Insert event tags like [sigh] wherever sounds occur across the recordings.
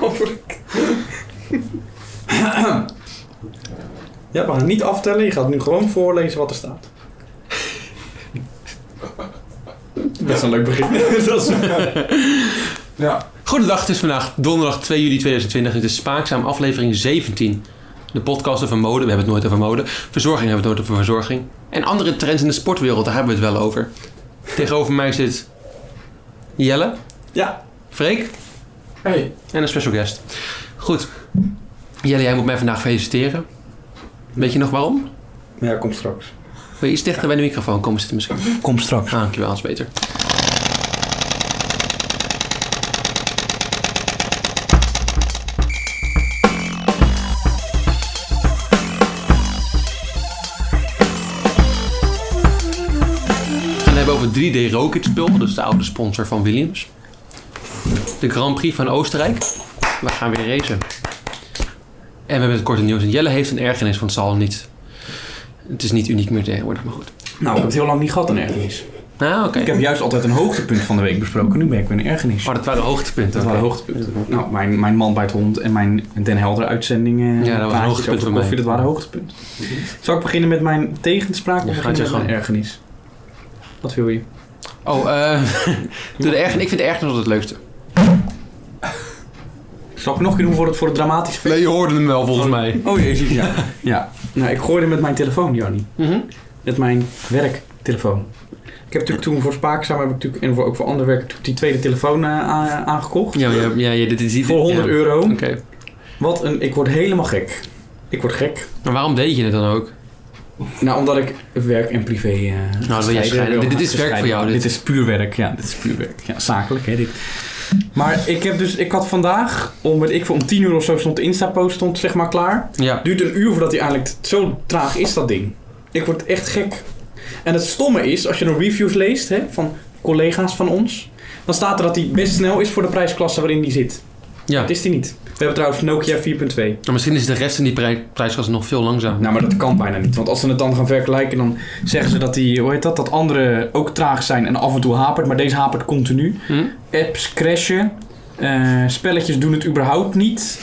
Hopelijk. [clears throat] Ja, we gaan niet aftellen. Je gaat nu gewoon voorlezen wat er staat. Best een leuk begin. [laughs] Dat is- Ja. Goedendag, het is vandaag donderdag 2 juli 2020. Het is Spaakzaam, aflevering 17. De podcast over mode, we hebben het nooit over mode. Verzorging hebben we het nooit over verzorging. En andere trends in de sportwereld, daar hebben we het wel over. Tegenover mij zit Jelle, Ja. Freek Hey. en een special guest. Goed, Jelle, jij moet mij vandaag feliciteren. Weet je nog waarom? Ja, kom straks. Wil je iets dichter bij de microfoon komen zitten misschien? Kom straks. Ah, dankjewel, dat is beter. En we hebben over 3D Rocket Spul, dus de oude sponsor van Williams. De Grand Prix van Oostenrijk. We gaan weer racen. En we hebben het korte nieuws. En Jelle heeft een ergernis, want het zal niet. Het is niet uniek meer tegenwoordig, maar goed. Nou, ik heb het heel lang niet gehad, een ergernis. Nou, oké. Ik heb juist altijd een hoogtepunt van de week besproken. Nu ben ik weer een ergernis. Oh, dat waren hoogtepunten. Dat waren hoogtepunten. Nou, mijn, mijn man bij het hond en mijn Den Helder uitzendingen. Ja, dat was een hoogtepunt voor mij. koffie, Dat waren hoogtepunten. Zal ik beginnen met mijn tegenspraak Ja, of gaat beginnen je met gang. mijn ergernis? Wat wil je? Oh, eh, doe de ergernis. Ik vind de ergernis altijd het leukste. Zal ik nog een keer doen voor het, voor het dramatische Nee, je hoorde hem wel volgens mij. Oh jezus, [laughs] ja. ja. Nou, ik gooide met mijn telefoon, Jannie. Mhm. Met mijn werktelefoon. Ik heb natuurlijk toen voor Spaakzaam heb ik natuurlijk, en voor, ook voor ander werk natuurlijk die tweede telefoon eh, a- aangekocht. Ja, ja, ja, ja, dit is niet... Voor 100 ja. euro. Oké. Wat een... Ik word helemaal gek. Ik word gek. Maar waarom deed je het dan ook? Nou, omdat ik werk en privé... eh, gescheiden Nou, wil jij scheiden. wil. Dit- dit is werk voor jou, dit. Dit is puur werk. Ja, dit is puur werk. Ja, zakelijk, hè, dit. Maar ik heb dus... Ik had vandaag, om, weet ik, veel, om 10 uur of zo stond de Insta-post stond, zeg maar, klaar. Ja. duurt een uur voordat hij eigenlijk... Zo traag is dat ding. Ik word echt gek. En het stomme is, als je dan reviews leest hè, van collega's van ons... dan staat er dat hij best snel is voor de prijsklasse waarin hij zit. ja. Dat is hij niet. We hebben trouwens Nokia 4.2. Maar misschien is de rest in die prij prijsklasse nog veel langzamer. Nou, maar dat kan bijna niet. Want als ze het dan gaan vergelijken, dan zeggen ze dat die... Hoe heet dat? Dat andere ook traag zijn en af en toe hapert. Maar deze hapert continu. Hm? Apps crashen. eh, spelletjes doen het überhaupt niet.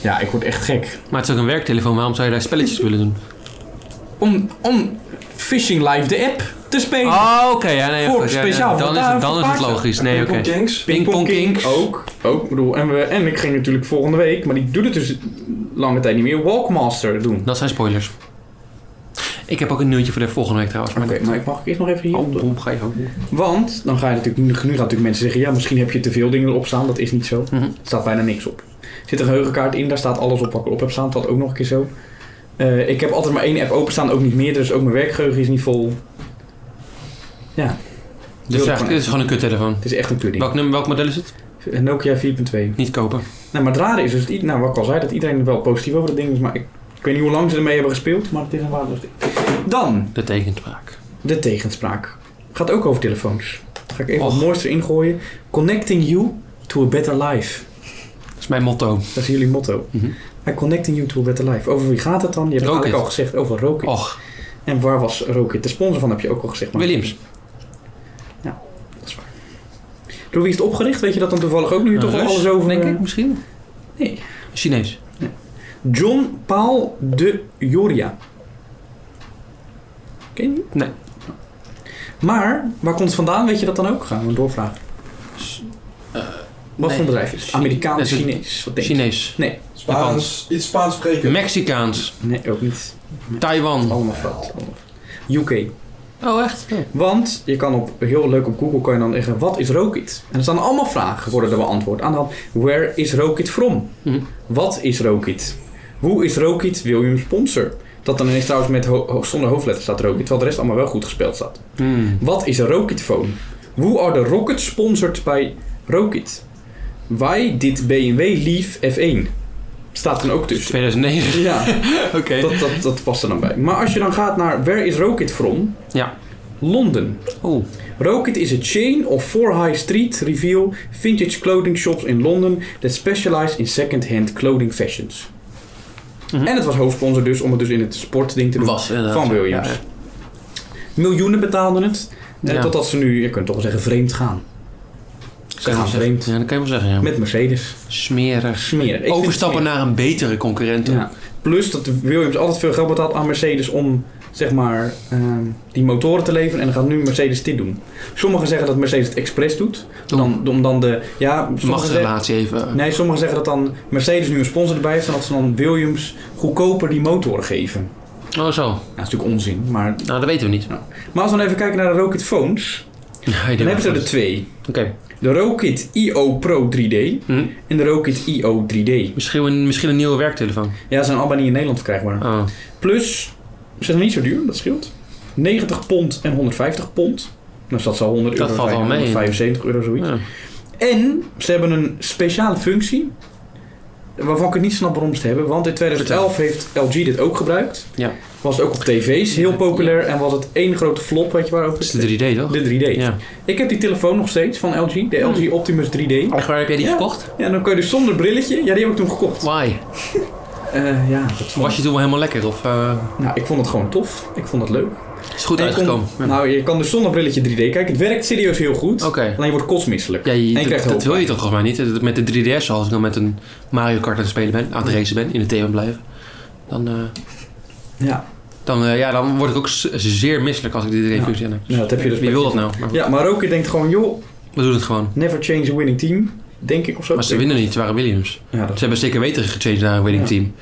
Ja, ik word echt gek. Maar het is ook een werktelefoon. Waarom zou je daar spelletjes willen doen? om, om Fishing Live de app te spelen. Oh, oké. ja, nee, Voor- goed, ja, ja. speciaal voor dan is daar- het, dan voor is het Pasen. logisch. Nee, oké. Jinx. Pingpong Kings. Ook, ook ik bedoel, en, we, en ik ging natuurlijk volgende week, maar die doet het dus lange tijd niet meer, Walkmaster doen. Dat zijn spoilers. Ik heb ook een nieuwtje voor de volgende week trouwens. Oké, Maar dat- maar ik mag ik eerst nog even hier Oh, boem, ga je ook doen. Want dan ga je natuurlijk, nu gaan natuurlijk mensen zeggen: ja, misschien heb je te veel dingen erop staan. Dat is niet zo. Mhm. Er staat bijna niks op. Er zit een geheugenkaart in, daar staat alles op wat ik erop heb staan. Dat ook nog een keer zo. Eh, ik heb altijd maar één app openstaan, ook niet meer. Dus ook mijn werkgeheugen is niet vol. Dus eigenlijk, dit is gewoon een kuttelefoon. Het is echt een pudding. Welk, nummer, welk model is het? Nokia 4.2. Niet kopen. Nou, maar het rare is dus, dat i- nou, wat ik al zei, dat iedereen er wel positief over dat ding is. Maar ik, ik weet niet hoe lang ze ermee hebben gespeeld, maar het is een waardeloos ding. Dan, De tegenspraak. de tegenspraak. Gaat ook over telefoons. Ga ik even Och. het mooiste ingooien. Connecting you to a better life. Dat is mijn motto. Dat is jullie motto. Mhm. En Connecting you to a better life. Over wie gaat het dan? Je hebt het Rocket. eigenlijk al gezegd over Rocket. Och, En waar was Rocket? De sponsor van heb je ook al gezegd. maar- Williams. Dat is waar. Door wie is het opgericht? Weet je dat dan toevallig ook nu Een toch al Rus, alles over... eh, Denk ik misschien? Nee. Chinees. John Paul de Joria. Ken je die? Nee. Maar, waar komt het vandaan? Weet je dat dan ook? Gaan we doorvragen. Wat eh, nee. voor bedrijf is het? Amerikaans, Dat is een- Chinees? Wat denk je? Chinees. Spaans. Iets Spaans spreken. Mexicaans. Nee, ook niet. Taiwan. Allemaal fout. Allemaal fout. UK. Oh, echt? Want je kan op, heel leuk op Google kan je dan zeggen, wat is Rocket? En er staan allemaal vragen worden er beantwoord. Aan de hand, where is Rocket from? Mhm. Wat is Rocket? Hoe is Rocket William sponsor? Dat dan ineens trouwens met ho- ho- zonder hoofdletter staat Rocket, terwijl de rest allemaal wel goed gespeeld staat. Hmm. Wat is een Rocketphone? Who are the Rocket sponsored by Rocket? Why did BMW leave F1? Staat dan ook tussen. 2009. Dus [laughs] Ja, Oké. dat, dat, dat past er dan bij. Maar als je dan gaat naar Where is Rocket from? Ja. Londen. Oh. Rocket is a chain of four high street reveal vintage clothing shops in London that specialize in second-hand clothing fashions. Mhm. En het was hoofdsponsor dus om het dus in het sportding te doen Was inderdaad. van Williams. Ja, ja. Miljoenen betaalden het. eh, Ja. Totdat ze nu, je kunt toch wel zeggen, vreemd gaan. Kan je wel zeggen. vreemd. Ja, dat kan je wel zeggen, ja. Met Mercedes. Smerig. Smerig. Ik vind Overstappen het naar een betere concurrent. smerig. Ja. Plus dat Williams altijd veel geld betaalt aan Mercedes om zeg maar ehm, die motoren te leveren. En dan gaat nu Mercedes dit doen. Sommigen zeggen dat Mercedes het expres doet. Dan Dan, om dan de... Ja, sommigen zeggen- machtsrelatie even. Nee, sommigen zeggen dat dan Mercedes nu een sponsor erbij heeft en dat ze dan Williams goedkoper die motoren geven. Oh, zo. Nou, dat is natuurlijk onzin, maar... Nou, dat weten we niet. Maar als we dan even kijken naar de Rocket Phones, Ja, ik [laughs] dan denk hebben ze wel. er twee. Oké. De Rocket IO Pro 3D Hm? en de Rocket IO 3D. Misschien, een, misschien een nieuwe werktelefoon. Ja, ze zijn allebei niet in Nederland verkrijgbaar. Oh. Plus, ze zijn niet zo duur, dat scheelt. 90 pond en 150 pond. Dus dat zal 100 Dat euro valt zijn, wel mee. 175 euro zoiets. Ja. En ze hebben een speciale functie. Waarvan ik het niet snap waarom ze het hebben. Want in 2011 heeft LG dit ook gebruikt. Ja. Was het ook op tv's heel populair. En was het één grote flop, weet je waarover? Dat is de 3D, toch? De 3D. Ja. Hmm. Ik heb die telefoon nog steeds van LG. De LG Optimus 3D. Echt waar, heb jij die Ja. gekocht? Ja, dan kun je dus zonder brilletje. Ja, die heb ik toen gekocht. Why? Eh, ja, dat vond Was je toen wel helemaal lekker? Of eh, ik- Nou, ik vond het gewoon tof. Ik vond het leuk. is het goed En je kon- uitgekomen? Ja. Nou, je kan dus zonder brilletje 3D kijken. Het werkt serieus heel goed. Oké. Alleen je wordt kotsmisselijk. Ja, En je je, dat- krijgt dat, wil hoofdpijn. je toch volgens mij niet? Dat- Met de 3DS, als ik dan met een Mario Kart aan het spelen ben, aan het racen ben, in het thema blijven, dan, eh, Ja. dan, eh, ja, dan word ik ook z- zeer misselijk als ik die 3D-functie aan heb. ja, dat heb je dus Wie met- wil dat nou? Maar goed, Ja, maar ook je denkt gewoon, joh, We doen het gewoon. Never change a winning team, denk ik of zo. Maar ze winnen niet, ze waren Williams. Ja, Ze dat hebben zeker weten gechanged naar een winning Ja. team.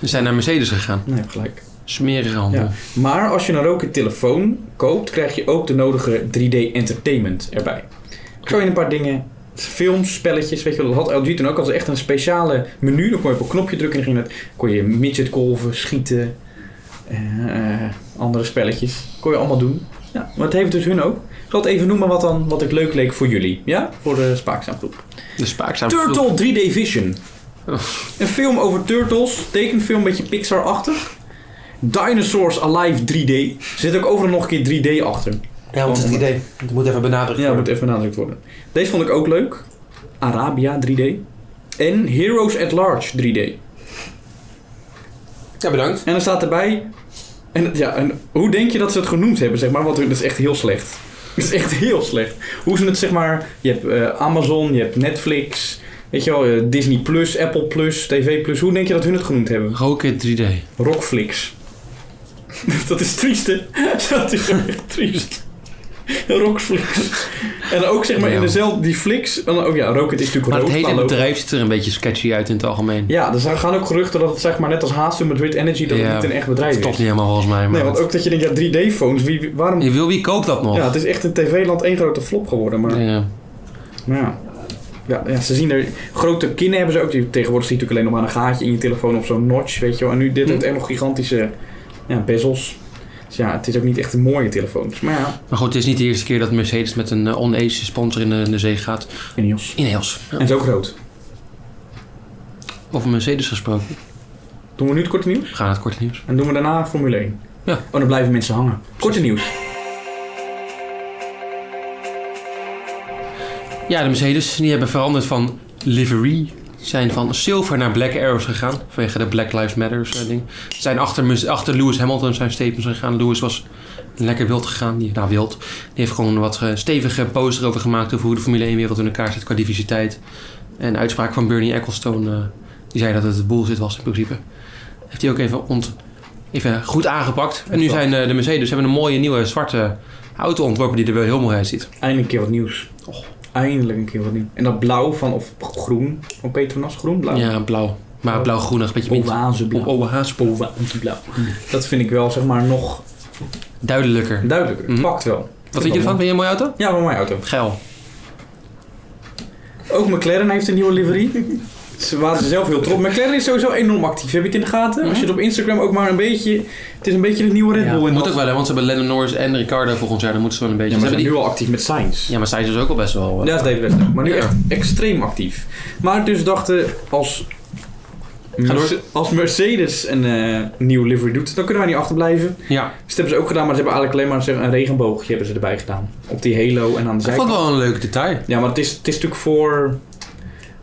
Ze zijn naar Mercedes gegaan. nee, je hebt gelijk. Smerige handel. Ja. Maar als je een Rocket telefoon koopt, krijg je ook de nodige 3D entertainment erbij. Zo in een paar dingen, films, spelletjes, weet je wel. Dat had LG toen ook als echt een speciale menu. Dan kon je op een knopje drukken en dan ging het, kon je midget golven, schieten, eh, eh, andere spelletjes. Kon je allemaal doen. Ja, maar het heeft dus hun ook. Ik zal het even noemen wat, dan, wat ik leuk leek voor jullie. Ja? Voor de spaakzaamgroep. De spaakzaam. Turtle 3D Vision. Oh. Een film over turtles, tekenfilm, beetje Pixar-achtig. Dinosaurs Alive 3D. Er zit ook overal nog een keer 3D achter. Ja, want het idee. Het moet even benadrukt Ja, moet even benadrukt worden. Deze vond ik ook leuk. Arabia 3D. En Heroes at Large 3D. Ja, bedankt. En er staat erbij... En, ja, en hoe denk je dat ze het genoemd hebben, zeg maar? Want dat is echt heel slecht. [laughs] Dat is echt heel slecht. Hoe ze het, zeg maar... Je hebt eh, Amazon, je hebt Netflix... Weet je wel, eh, Disney+, Plus, Apple+, Plus, TV+. Plus. Hoe denk je dat hun het genoemd hebben? Rocket 3D. Rockflix. [laughs] dat is triest, hè? [laughs] Dat is gewoon echt triest. Rockflix. En ook zeg maar in Ja. dezelfde... Die flix... en dan- Oh ja, Rocket is natuurlijk Maar het rood. hele hallo. bedrijf ziet er een beetje sketchy uit in het algemeen. Ja, dus er gaan ook geruchten dat het zeg maar net als Haastum met Red Energy... dat Ja, het niet een echt bedrijf Dat is. klopt niet helemaal volgens mij. Maar Nee, want ook dat je denkt, ja, 3D-phones, wie, wie- waarom... Je wil, wie koopt dat nog? eh, Ja, het is echt in tv-land één grote flop geworden, maar... Ja. maar Nou ja. Ja, ja, ze zien er... Grote kinnen hebben ze ook. Die, tegenwoordig zie je natuurlijk alleen nog maar een gaatje in je telefoon of zo'n notch, weet je wel. En nu, dit Hm. heeft echt nog gigantische ja, bezels. Dus ja, het is ook niet echt een mooie telefoons. Maar ja, Maar goed, het is niet de eerste keer dat Mercedes met een eh, on-ace sponsor in de, in de zee gaat. Ineos. Ineos. Ja. En het is ook groot. Over Mercedes gesproken. Doen we nu het korte nieuws? We gaan naar het korte nieuws. En doen we daarna Formule 1. Ja. Oh, dan blijven mensen hangen. Korte nieuws. Ja, de Mercedes die hebben veranderd van livery. Zijn van zilver naar black arrows gegaan. Vanwege de Black Lives Matter eh, ding. Zijn achter, Mes- achter Lewis Hamilton zijn statements gegaan. Lewis was lekker wild gegaan. Die, nou, wild. Die heeft gewoon wat eh, stevige posts erover gemaakt. Over hoe de Formule 1 wereld in elkaar zit qua diversiteit. En een uitspraak van Bernie Ecclestone. eh, die zei dat het bullshit was in principe. Heeft hij ook even, ont, even goed aangepakt. En nu zijn eh, de Mercedes hebben een mooie nieuwe zwarte auto ontworpen. Die er wel heel mooi uitziet. Eindelijk een keer wat nieuws. Eindelijk een keer wat nieuws. En dat blauw van, of groen, van Petronas, nou? groen, blauw. Ja, blauw. Maar blauw-groenig. Beetje mint. Oase blauw. Op Haaspoel. Boven blauw. Dat vind ik wel, zeg maar, nog Duidelijker. duidelijker. Mhm. Pakt wel. Wat vind je ervan? Vind je een mooie auto? Ja, van mijn auto. Geil. Ook McLaren heeft een nieuwe livery. Ze waren ze zelf heel trots. McLaren is sowieso enorm actief. Heb je het in de Mhm. gaten? Als je het op Instagram ook maar een beetje... Het is een beetje de nieuwe Red Bull. in moet dat- ook wel, hè, want ze hebben Lennon Norris en Ricardo volgend jaar. Dan moeten ze wel een beetje... Ja, maar ze ze zijn hebben nu al actief met Sainz. die- ja, maar zij is dus ook al best wel... eh, Ja, dat deed best leuk. Maar nu Ja. echt extreem actief. Maar dus dachten, als, Merce- door. als Mercedes een eh nieuw livery doet, dan kunnen wij niet achterblijven. ja. Dus dat hebben ze ook gedaan, maar ze hebben eigenlijk alleen maar zeg, een regenboogje hebben ze erbij gedaan. Op die halo en aan de Ik vond zijkant. het wel een leuk detail. Ja, maar het is, het is natuurlijk voor...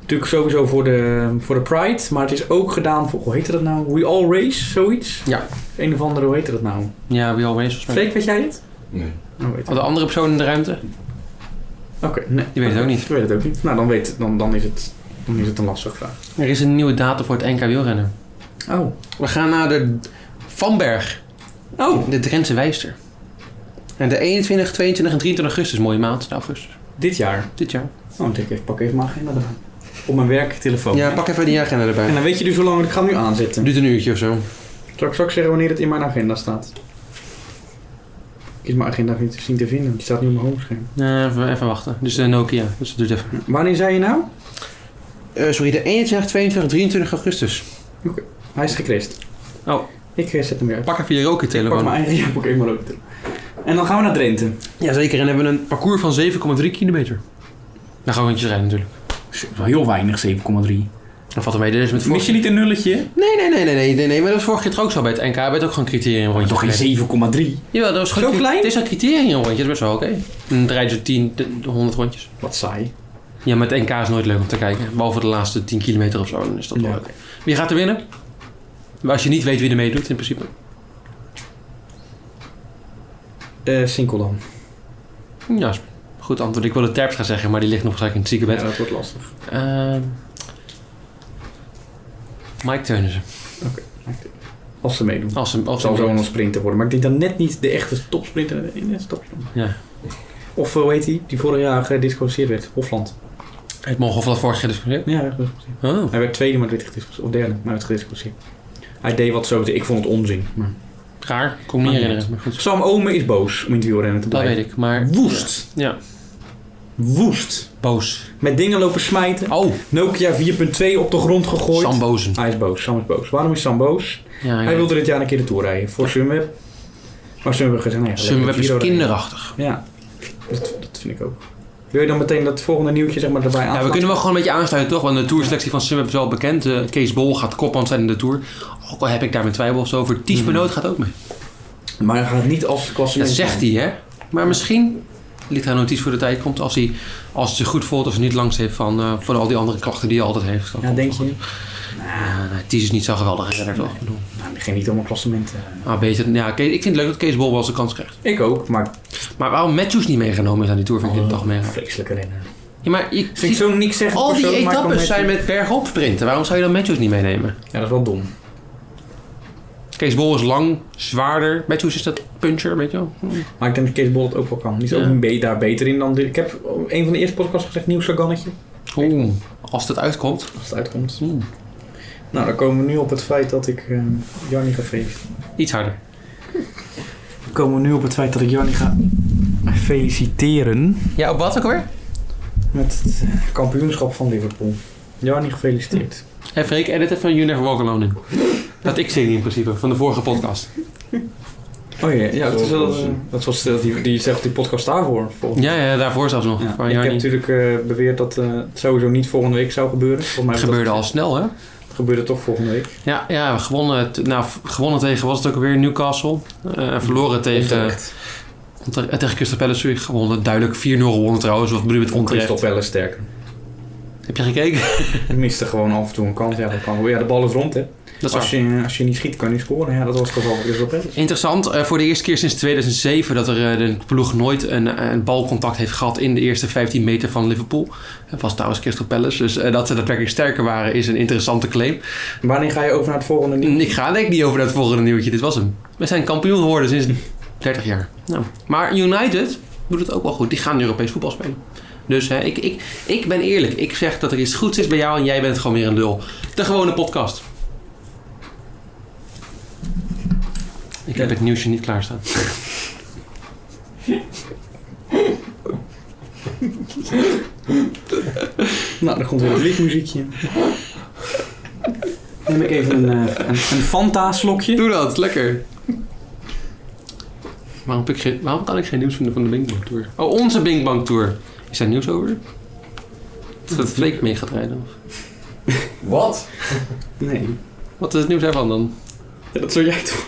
Natuurlijk sowieso voor de, voor de Pride, maar het is ook gedaan voor... Hoe heette dat nou? We All Race, zoiets? Ja. Een of andere, hoe heette dat nou? Ja, wie alweer is volgens mij. Freek, weet jij het? Nee. Oh, weet ik. Had de andere persoon in de ruimte? Oké, nee. Je weet het ook niet. Ik weet het ook niet. Nou, dan, weet, dan, dan, is, het, dan is het een lastige vraag. Er is een nieuwe datum voor het NK wielrennen. Oh. We gaan naar de Vanberg. Oh. De Drentse Wijster. En de 21, 22 en 23 augustus. Mooie maand, augustus. Dit jaar. Dit jaar. Oh, ik denk, ik pak even mijn agenda erbij. Op mijn werktelefoon. Ja, pak Dus- even die agenda En erbij. dan weet je dus hoe lang ik ga hem nu aanzetten. Duurt een uurtje of zo. Zal ik straks zeggen wanneer het in mijn agenda staat? Ik is mijn agenda niet te zien te vinden, want die staat nu op mijn homescherm. Nee, even, even wachten. Dus de Nokia. Dus dat duurt even. Wanneer zei je nou? Eh, sorry, de 21, 22, 23 augustus. Hij is gecrest. Oh. Ik eh, zet hem weer uit. Pak even je ook je Pak telefoon. mijn eigen jaarboek even maar ook toe. En dan gaan we naar Drenthe. Jazeker, en hebben we een parcours van 7,3 kilometer. Dan gaan we rondjes rijden natuurlijk. Wel heel weinig, 7,3. Dan valt er mee, dit is met Mis vorige... je niet een nulletje? Nee, nee, nee, nee, nee, nee, nee, maar dat was vorige keer toch ook zo bij het NK. Werd ook gewoon een criterium rondje. Toch gereden. geen 7,3? Jawel, dat was gewoon... Zo klein? Het is een criterium rondje, dat is best wel oké. En dan rijden ze 10, de- de 100 rondjes. Wat saai. Ja, maar het NK is nooit leuk om te kijken. Behalve de laatste 10 kilometer of zo, dan is dat wel Ja. oké. Wie gaat er winnen? Maar Als je niet weet wie er meedoet, in principe. Eh Sinkel dan. Ja, is goed antwoord. Ik wilde Terps gaan zeggen, maar die ligt nog waarschijnlijk in het ziekenbed. Ja, dat wordt lastig. Ehm Mike Teunissen. Als ze Oh, meedoen. Als hem, Het als zal hem zo een sprinter worden, maar ik denk dan net niet de echte topsprinter in de Ja. Of eh, hoe heet die? Die vorig jaar gediscussieerd werd. Hofland. Het mogen of dat vorig jaar discussieerd. Ja, hij werd gediscussieerd. Oh. Hij werd tweede, maar werd gediscussieerd. Of derde, maar werd gediscussieerd. Hij deed wat zo meteen. Ik vond het onzin. Maar... Raar, ik kon me niet Maar herinneren. Maar goed, Sam Ome is boos om in het wielrennen te dat blijven. weet ik. Maar Woest. Ja, Woest. boos. Met dingen lopen smijten. Oh, Nokia 4.2 op de grond gegooid. Sam Bozen. Hij is boos. Sam is boos. Waarom is Sam boos? Ja, ja. Hij wilde dit jaar een keer de Tour rijden. Voor Sunweb. Maar Sunweb heeft gezegd... Nee, ga Sunweb lekker is Giro rijden. kinderachtig. Ja. Dat, dat vind ik ook. Wil je dan meteen dat volgende nieuwtje zeg maar erbij aan? Ja, we kunnen wel gewoon een beetje aansluiten, toch? Want de tourselectie van Sunweb is wel bekend. Eh, Kees Bol gaat kopman zijn in de Tour. Ook al heb ik daar mijn twijfels over. Mhm. Ties Benoot gaat ook mee. Maar hij gaat niet als klassement. Dat zegt hij, hè? Maar misschien ligt hij notitie voor de tijd komt als hij, als hij zich goed voelt, als hij niet langs heeft van, eh, van al die andere klachten die hij altijd heeft. Dan Ja, komt denk het je? wel goed. Ja, nee, Ties is niet zo geweldig redder, toch? Ik bedoel, Nou, die ging niet allemaal klassementen. Ah, beter. Ja, Kees- ik vind het leuk dat Kees Bol wel zijn kans krijgt. Ik ook, maar Maar waarom Matthews niet meegenomen is aan die Tour, vind ik toch meer. vreselijke renner. Ja, maar je Oh. Vind ik ziet- zo niks zeggen. al die persoon, maar ik kan etappes met- zijn met bergop sprinten. Waarom zou je dan Matthews niet meenemen? Ja, dat is wel dom. Kees Bol is lang, zwaarder. Matthews is dat puncher, weet je wel. Hm. Maar ik denk dat Kees Bol het ook wel kan. Die is Ja. ook een be- daar beter in dan... Dirk. Ik heb op een van de eerste podcasts gezegd, nieuw Sagannetje. Oeh, als dat uitkomt. Als het uitkomt. Oeh, Nou, dan komen we nu op het feit dat ik eh Jarni ga feliciteren. Iets harder. Dan komen we nu op het feit dat ik Jarni ga feliciteren. Ja, op wat ook alweer? Met het eh, kampioenschap van Liverpool. Jarni gefeliciteerd. Hé Freek, edit even You Never Walk Alone in. Dat ik zing in principe, van de vorige podcast. Oh ja, ja dat, is wel, Zoals, eh, dat was eh, die, die zegt die podcast daarvoor. volgens mij. Ja, ja, daarvoor zelfs nog. Ja, Van ik heb Jarni. natuurlijk eh, beweerd dat eh, het sowieso niet volgende week zou gebeuren. Volgens mij Het was dat- gebeurde al snel, hè? Het gebeurde toch volgende week. Ja, ja gewonnen, t- nou, v- gewonnen tegen, was het ook alweer Newcastle. Eh, en verloren tegen, Onterecht. Onter- eh, tegen Crystal Palace sorry, gewonnen. Duidelijk 4-0 gewonnen trouwens. Wat bedoel je met onterecht? Crystal Palace sterker. Heb je [laughs] gekeken? Je miste gewoon af en toe een kans. Ja, dat kan. wel. ja de bal is rond, hè. Dat is Als waar. je, als je niet schiet, kan je niet scoren. Ja, dat was het geval van Crystal Palace. Interessant, eh, voor de eerste keer sinds 2007 dat er eh, de ploeg nooit een, eh, een balcontact heeft gehad in de eerste 15 meter van Liverpool. Het was trouwens Crystal Palace, dus eh, dat ze daadwerkelijk sterker waren is een interessante claim. Wanneer ga je over naar het volgende nieuws? Ik ga denk ik niet over dat volgende nieuwtje, dit was hem. We zijn kampioen geworden sinds 30 jaar. Nou, maar United doet het ook wel goed, die gaan Europees voetbal spelen. Dus hè, ik, ik, ik ben eerlijk, ik zeg dat er iets goeds is bij jou en jij bent gewoon weer een lul. De gewone podcast. Ik heb het nieuwsje niet klaarstaan. Nou, dan komt weer het liedmuziekje. Neem ik even een, eh, een, een Fanta-slokje. Doe dat, lekker. Waarom, heb ik geen, waarom kan ik geen nieuws vinden van de Binkbank Tour? Oh, onze Binkbank Tour. Is daar nieuws over? Dat Fleek mee gaat rijden? Of? Wat? Nee. Wat is het nieuws daarvan dan? Ja, dat zou jij toch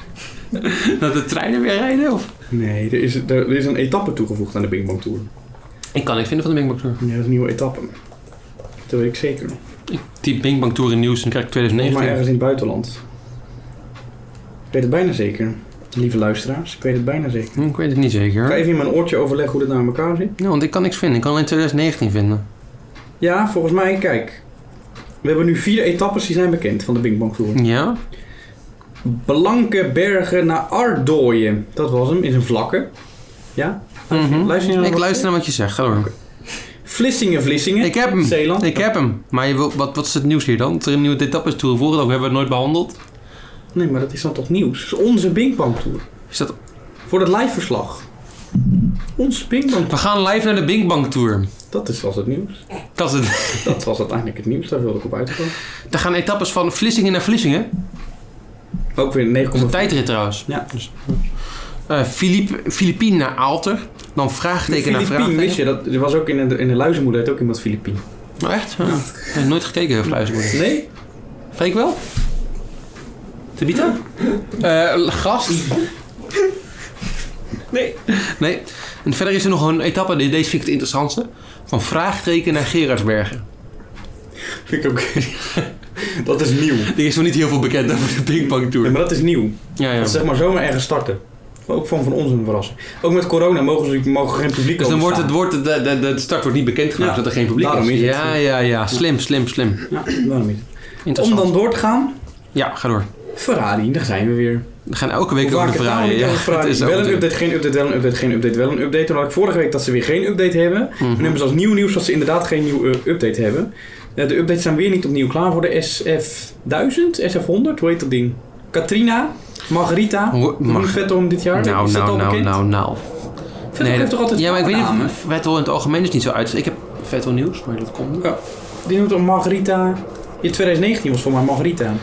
[laughs] Dat de treinen weer rijden? Of? Nee, er is, er, er is een etappe toegevoegd aan de Bing Bang Tour. Ik kan niks vinden van de Binkbank Tour. Ja, dat is een nieuwe etappe. Dat weet ik zeker nog. Ik typ Binkbank Tour in nieuws en dan krijg ik Maar 2019. ergens in het buitenland. Ik weet het bijna zeker. Lieve luisteraars, ik weet het bijna zeker. Hm, Ik weet het niet zeker. Ik hoor. ga even in mijn oortje overleggen hoe dit naar elkaar zit. Ja, want ik kan niks vinden. Ik kan alleen 2019 vinden. Ja, volgens mij, kijk. We hebben nu vier etappes die zijn bekend van de Bing Bang Tour. Ja? Blanke bergen naar Ardooien. Dat was hem, is een vlakke. Ja? Mhm. Luister je naar Ik wat luister naar wat je zegt. Ga door. Vlissingen, Vlissingen. Ik heb hem. Zeeland. Ik heb hem. Maar je wil, wat, wat is het nieuws hier dan? Dat er een nieuwe etappe is toegevoegd. Ook hebben we het nooit behandeld. Nee, maar dat is dan toch nieuws? Dat is onze Bing Bang Tour. Is dat... Voor het liveverslag. Ons Bing Bang We gaan live naar de Bing Bang Tour. Dat is, was het nieuws. Dat is het. [laughs] Dat was uiteindelijk het nieuws, daar wilde ik op uitkomen. Daar gaan etappes van Vlissingen naar Vlissingen. Ook weer Dat is een 9,5. tijdrit trouwens. Ja, dus- Eh Filip, Filipien naar Aalter. Dan vraagteken naar Filipien, wist vraagteken. je dat? Er was ook in de, in de luizenmoeder had ook iemand Filipien. Oh, echt? Ja. Ik heb nooit gekeken, eh, Fluismoeder. [laughs] Nee? Freek wel? Tabita? Eh gast? Nee. Nee. En verder is er nog een etappe, die- deze vind ik het interessantste. Van vraagteken naar Gerardsbergen. Vind ik ook. [laughs] dat is nieuw. Die is nog niet heel veel bekend over de Big Bang Ja, Tour. Dus maar dat is nieuw. Ja, ja. Dat is zeg maar zomaar ergens starten. Maar ook van, van ons een verrassing. Ook met corona mogen ze mogen geen publiek Dus dan wordt het, overstaan. wordt het, de, de, de start wordt niet bekend gemaakt Ja. dat er geen publiek Daarom is. is het. ja, ja, ja. Slim, slim, slim. Ja, waarom niet? Om Interessant. dan door te gaan, Ja, ga door. Ferrari, daar zijn we weer. We gaan elke week Hoe over vaak de het nou Ferrari. niet Ja, over Ferrari. [laughs] het is ook wel een natuurlijk- update, geen update, wel een update, geen update, wel een update. Toen had ik vorige week dat ze weer geen update hebben. En Mhm. dan hebben ze als nieuw nieuws dat ze inderdaad geen nieuw eh, update hebben. Eh, de updates zijn weer niet opnieuw klaar voor de SF1000, SF100, hoe heet dat ding? Katrina, Margarita, Hoe- Mag... Mag- Vettel om dit jaar. Nou, is dat nou, al nou, bekend? nou, nou. Vettel heeft dat- toch altijd Ja, maar ik weet niet namen? of Vettel in het algemeen is niet zo uit. Ik heb Vettel nieuws, maar dat komt niet. Die noemt om Margarita. In 2019 was voor mij Margarita.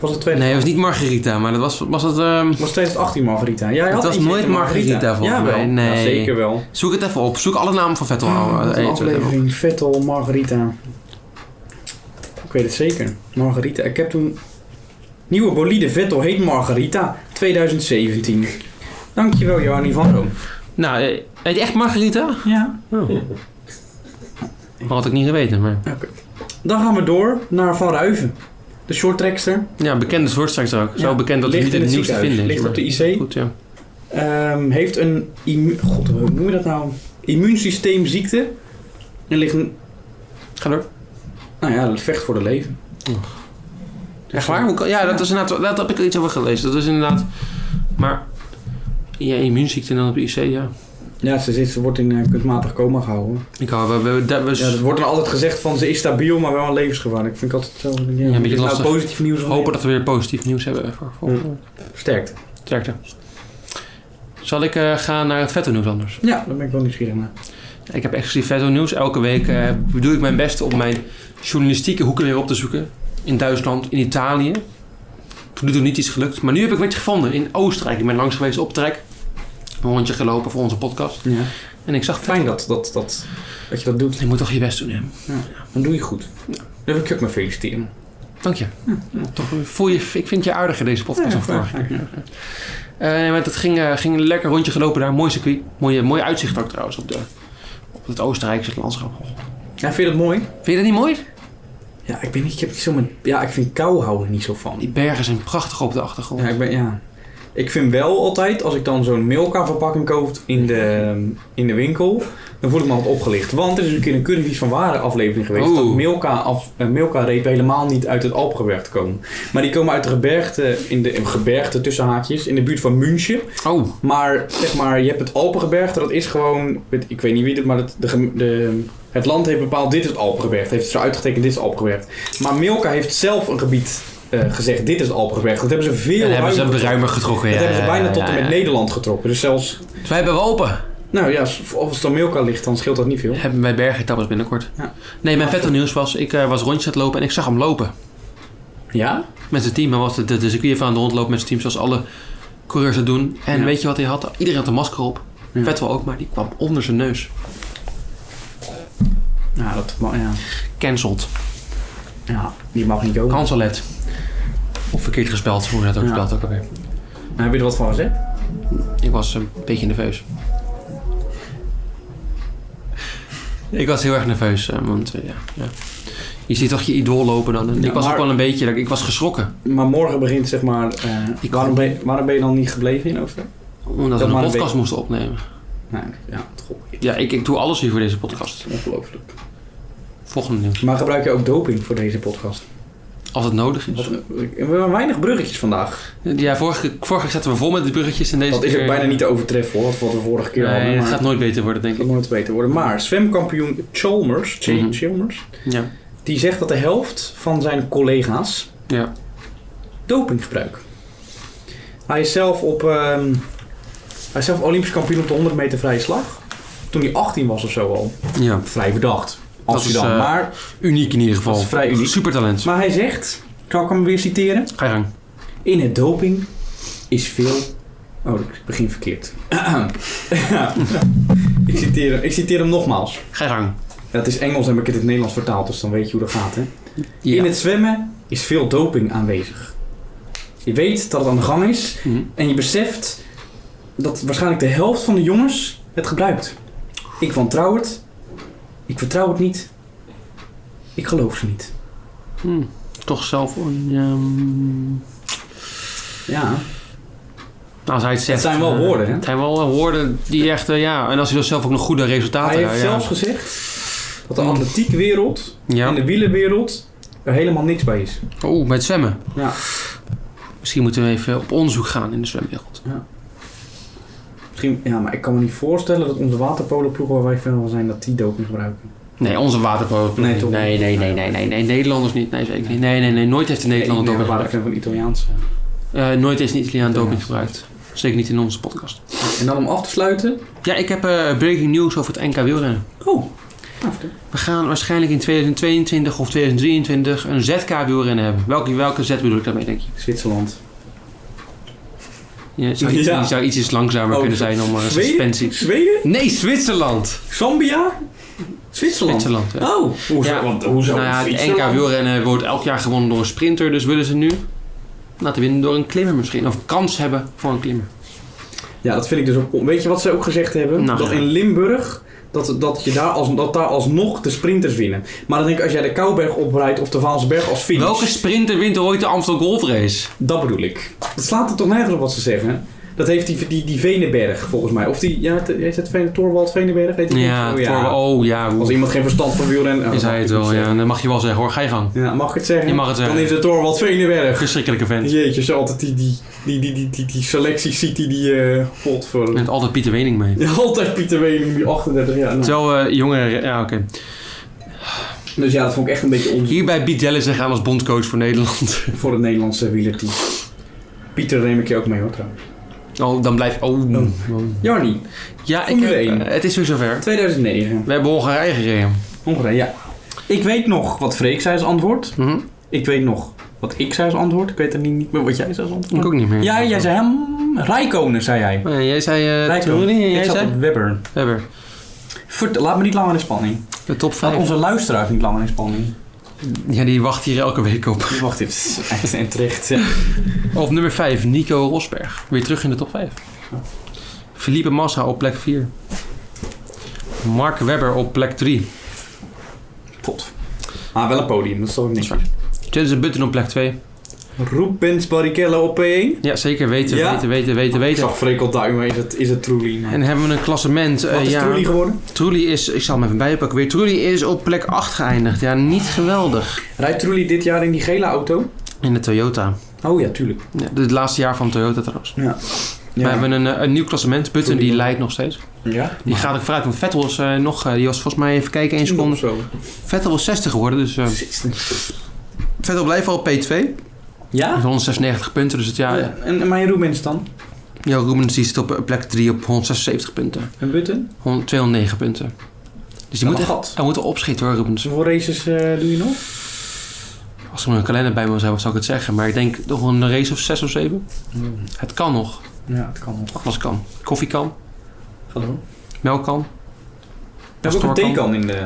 Was het tweede? Nee, het was niet Margarita, maar dat was, was het... ehm, Was 2018 Margarita. Ja, Het was nooit Margarita, volgens mij. Nee. zeker wel. zoek het even op. Zoek alle namen van Vettel. Ah, aan. wat een Eh, aflevering Vettel, Margarita. Ik weet het zeker. Margarita. Ik heb toen... Nieuwe bolide Vettel heet Margarita 2017. Dankjewel, Johanny van Room. Nou, eh, heet je echt Margarita? Ja. Dat had ik niet geweten, maar... Oké. Dan gaan we door naar Van Ruiven. De shorttrackster. Ja, bekende soortstraks ook. Zo Ja, bekend dat het ligt niet in in het het nieuws te vinden is. ziekenhuis, ligt maar- op de E. IC. Goed, ja. Ehm, heeft een immu- God, hoe noem je dat nou? Immuunsysteemziekte. En ligt een, Ga door. nou ja, het vecht voor de leven. Echt waar? Hoe kan- Ja, dat is inderdaad... Dat heb ik iets over gelezen. Dat is inderdaad... Maar... Ja, immuunziekte en dan op de IC, ja. Ja, ze, zit, ze wordt in eh, kunstmatig coma gehouden. Ik hou... We, we, dat was- Ja, er wordt dan altijd gezegd van ze is stabiel, maar wel een levensgevaar. Ik vind het altijd zo. Ja, een beetje is nou lastig. positief nieuws. of Hopen dat we weer positief nieuws hebben voor volgende week. niet? Sterkte. Sterkte. Zal ik eh, gaan naar het vette nieuws anders? Ja, daar ben ik wel nieuwsgierig naar. Ik heb exclusief vette nieuws. Elke week eh, doe ik mijn best om mijn journalistieke hoeken weer op te zoeken. In Duitsland, in Italië. Tot nu toe niet iets gelukt. Maar nu heb ik wat gevonden in Oostenrijk. Ik ben langs geweest op trek. Een rondje gelopen voor onze podcast. Ja. En ik zag... Fijn dat, dat, dat, dat je dat doet. Je moet toch je best doen, hè? Dan doe je goed. Dan wil ik je ook maar feliciteren. Dank je. Toch eh, voel je, ik vind je aardiger deze podcast dan vorige keer. Eh, nee, maar dat ging, eh, ging een lekker rondje gelopen daar. Mooi circuit. Mooie, mooi uitzicht ook trouwens op, de, op het Oostenrijkse landschap. Ja, vind je dat mooi? Vind je dat niet mooi? Ja, ik ben niet, ik heb niet zo mijn, ja, ik vind kou houden niet zo van. Die bergen zijn prachtig op de achtergrond. Ja, ik ben, ja. Ik vind wel altijd, als ik dan zo'n Milka verpakking koop in de, in de winkel, dan voel ik me altijd opgelicht. Want er is een keer een Curryvies van Waren aflevering geweest, Oeh. dat Milka, af, eh, Milka repen helemaal niet uit het Alpgebergte komen. Maar die komen uit de gebergte, in de gebergte tussen haakjes, in de buurt van München. Oh, Maar zeg maar, je hebt het Alpengebergte, dat is gewoon, weet- ik weet niet wie dit, maar het, de, gem- de, het land heeft bepaald, dit is het Alpengebergte. Heeft het zo uitgetekend, dit is het Alpengebergte. Maar Milka heeft zelf een gebied eh, gezegd, dit is het Alpengebergte. Dat hebben ze veel dan hebben ze ruimer ruimer getrokken. dat ja, hebben ze bijna ja, tot en ja, met ja. Nederland getrokken. Dus zelfs, Dus wij hebben wel open. nou ja, als als het dan Milka ligt, dan scheelt dat niet veel. Hebben wij bergetappers binnenkort. Ja. Nee, mijn vette nieuws was, ik eh, was rondjes aan het lopen en ik zag hem lopen. Ja? Met zijn team. Hij was de, de, de circuit even aan de rondlopen met zijn team, zoals alle coureurs dat doen. En Ja. weet je wat hij had? Iedereen had een masker op. Ja. Vettel ook, maar die kwam onder zijn neus. Ja, Nou, dat mag, ja. Cancelled. ja die mag niet komen. Cancelet. Of verkeerd gespeld, hoe ze dat ook Ja. spelt ook alweer. Nou, heb je er wat van gezegd? Ik was een beetje nerveus. Ik was heel erg nerveus, eh, want eh, ja, ja. je ziet toch je idool lopen dan. En Ja, ik was ook maar- wel een beetje, ik was geschrokken. Maar morgen begint zeg maar... eh, Ik waarom, kan- ben je, waarom ben je dan niet gebleven in Oostenrijk? Omdat Dat maar we een een podcast beetje. moesten opnemen. Nee, ja, toch. Ja, ik, ik doe alles hier voor deze podcast. Ongelooflijk. Volgende nieuws. Maar gebruik je ook doping voor deze podcast? Als het nodig Wat- is. We hebben weinig bruggetjes vandaag. Ja, vorige, vorige keer zaten we vol met de bruggetjes. En deze Dat is keer, eh, ook bijna niet te overtreffen hoor, wat we vorige keer hadden. Nee, het maar gaat nooit beter worden, denk het ik. gaat nooit beter worden. Maar zwemkampioen Chalmers, Ch- Mhm. Chalmers, Ja. die zegt dat de helft van zijn collega's Ja. doping gebruikt. Hij is zelf op, ehm, hij is zelf olympisch kampioen op de 100 meter vrije slag. Toen hij 18 was of zo al. ja, Vrij verdacht. Dat Als hij is, dan. eh, maar, uniek in ieder geval. Dat is vrij uniek. Supertalent. maar hij zegt, kan ik hem weer citeren? Ga je gang. In het doping is veel. Oh, ik begin verkeerd. [clears throat] ik, citeer, hem- ik citeer hem nogmaals. Ga je gang. Ja, het is Engels, heb ik het in het Nederlands vertaald, dus dan weet je hoe dat gaat. Hè? Ja. In het zwemmen is veel doping aanwezig. Je weet dat het aan de gang is Mhm. en je beseft dat waarschijnlijk de helft van de jongens het gebruikt. Ik wantrouw het, ik vertrouw het niet, ik geloof ze niet. Hm. Toch zelf... ehm, Ja, als hij het zegt... zijn wel eh, woorden, hè? Het zijn wel eh, woorden die echt... eh, ja, en als hij dan zelf ook nog goede resultaten... hij heeft ja, zelfs gezegd dat de Mm. atletiekwereld Ja. in de wielenwereld er helemaal niks bij is. Oeh, met zwemmen. Ja. Misschien moeten we even op onderzoek gaan in de zwemwereld. Misschien, ja, maar ik kan me niet voorstellen dat onze waterpolenploegen waar wij fan van zijn, dat die doping gebruiken. Nee, onze waterpolo. Nee, toch? Nee, nee, nee, nee, nee, nee. Nederlanders niet. Nee, zeker niet. Nee, nee, nee. Nooit heeft de Nederlander ik doping ben wel gebruikt. fan van Italiaans. Eh, nooit heeft een Italiaan doping Italiaans. gebruikt. Zeker niet in onze podcast. En dan om af te sluiten. Ja, ik heb eh, breaking news over het NK wielrennen. Oh, nou, vertel. We gaan waarschijnlijk in 2022 of 2023 een ZK wielrennen hebben. Welke, welke Z bedoel ik daarmee, denk je? Zwitserland. Je zou, iets, Ja. je zou iets iets langzamer Oh, kunnen zijn om eh, Zweden? suspensie. Zweden? Nee, Zwitserland! Zambia? Zwitserland? Zwitserland, ja. Oh, hoezo? Ja. Want, hoezo? Nou ja, het NK Zwitserland? wielrennen wordt elk jaar gewonnen door een sprinter. Dus willen ze nu laten winnen door een klimmer misschien. Of kans hebben voor een klimmer. Ja, dat vind ik dus ook... on- Weet je wat ze ook gezegd hebben? Nou, dat ja. in Limburg... Dat, dat, je daar als, dat daar alsnog de sprinters winnen. Maar dan denk ik, als jij de Kouberg oprijdt of de Vaalsberg als finish... Welke sprinter wint er ooit de Amstel Golf Race? Dat bedoel ik. Dat slaat er toch nergens op wat ze zeggen? Dat heeft die, die, die Veneberg volgens mij. Of die, ja, te- is het Vene, Torwald Veneberg? Heet die Ja, Oh, Thor- oh ja, Als hoe iemand geen verstand van wielrennen... oh, is dat hij mag het ik niet wel? zeggen. Ja, dan mag je wel zeggen hoor, ga je gang. Ja, mag ik het zeggen? Je mag het zeggen. Dan is het Torwald Veneberg. Verschrikkelijke vent. Jeetje, zo altijd die, die, die, die, die, die, die selectie ziet die die eh pot voor. Met altijd Pieter Wening mee. Ja, altijd Pieter Wening, die 38 jaar. Nou. Terwijl eh, jongeren... Ja, oké. Dus ja, dat vond ik echt een beetje onzin Hierbij biedt Dellis zich aan als bondcoach voor Nederland. [laughs] voor het Nederlandse wielerteam. Pieter neem ik je ook mee hoor trouwens. Oh, dan blijft... Oh. Jarni, Ja, ik, Formule heb- één. eh, het is weer zover. 2009. We hebben Hongarije gereden. Hongarije, ja. Ik weet nog wat Freek zei als antwoord. Mhm. Ik weet nog wat ik zei als antwoord. Ik weet er niet, niet meer wat jij zei als antwoord. Ik ook niet meer. Ja, jij zei hem. Rijkonen, zei jij. Eh, jij zei... eh Rijkonen. Toerni en ik jij zat zei... op Webber. Webber. Vert- laat me niet langer in spanning. De top Laat 5. onze luisteraars niet langer in spanning. Ja, die wacht hier elke week op. Dus Wacht even. Echt en terecht. Op nummer 5, Nico Rosberg. Weer terug in de top 5. Felipe Massa op plek 4. Mark Webber op plek 3. Pot. Maar Ah, wel een podium, dat is toch niks. Dat Jensen Button op plek 2. Rubens Barrichello op P1. Ja, zeker weten, Ja. weten, weten, weten, Ik weten. zag Freek al duimen. Is het, is het Trulli? En hebben we een klassement. eh, Wat is ja, Trulli geworden? Trulli is, ik zal hem even bijpakken weer. Trulli is op plek 8 geëindigd. Ja, niet geweldig. Rijdt Trulli dit jaar in die gele auto? In de Toyota. Oh ja, tuurlijk. Ja, dit laatste jaar van Toyota trouwens. We hebben een, eh, een nieuw klassement. Button Trulli die wel. leidt nog steeds. Ja? Die gaat ook vooruit. Want Vettel is eh, nog, eh, die was volgens mij even kijken, 1 seconde. Zo. Vettel was 60 geworden, dus eh, Vettel blijft al op P2. Ja? Met 196 Ah. Dus punten, dus het jaar. Ja. Ja, En, en mijn Rubens dan? Ja, Rubens die zit op eh, plek 3 op 176 punten. En Button? 100 209 punten. Dus die moet echt, gat. Dus hij moet opschieten hoor, Rubens. Hoeveel races eh, doe je nog? Als ik mijn kalender bij me zou hebben, zou ik het zeggen. Maar ik denk nog een race of 6 of 7. Het kan nog. Mm. Ja, het kan nog. Alles kan. Koffie kan. Ga door. Melk kan. Er is ook Pastoor een kan. theekan in de...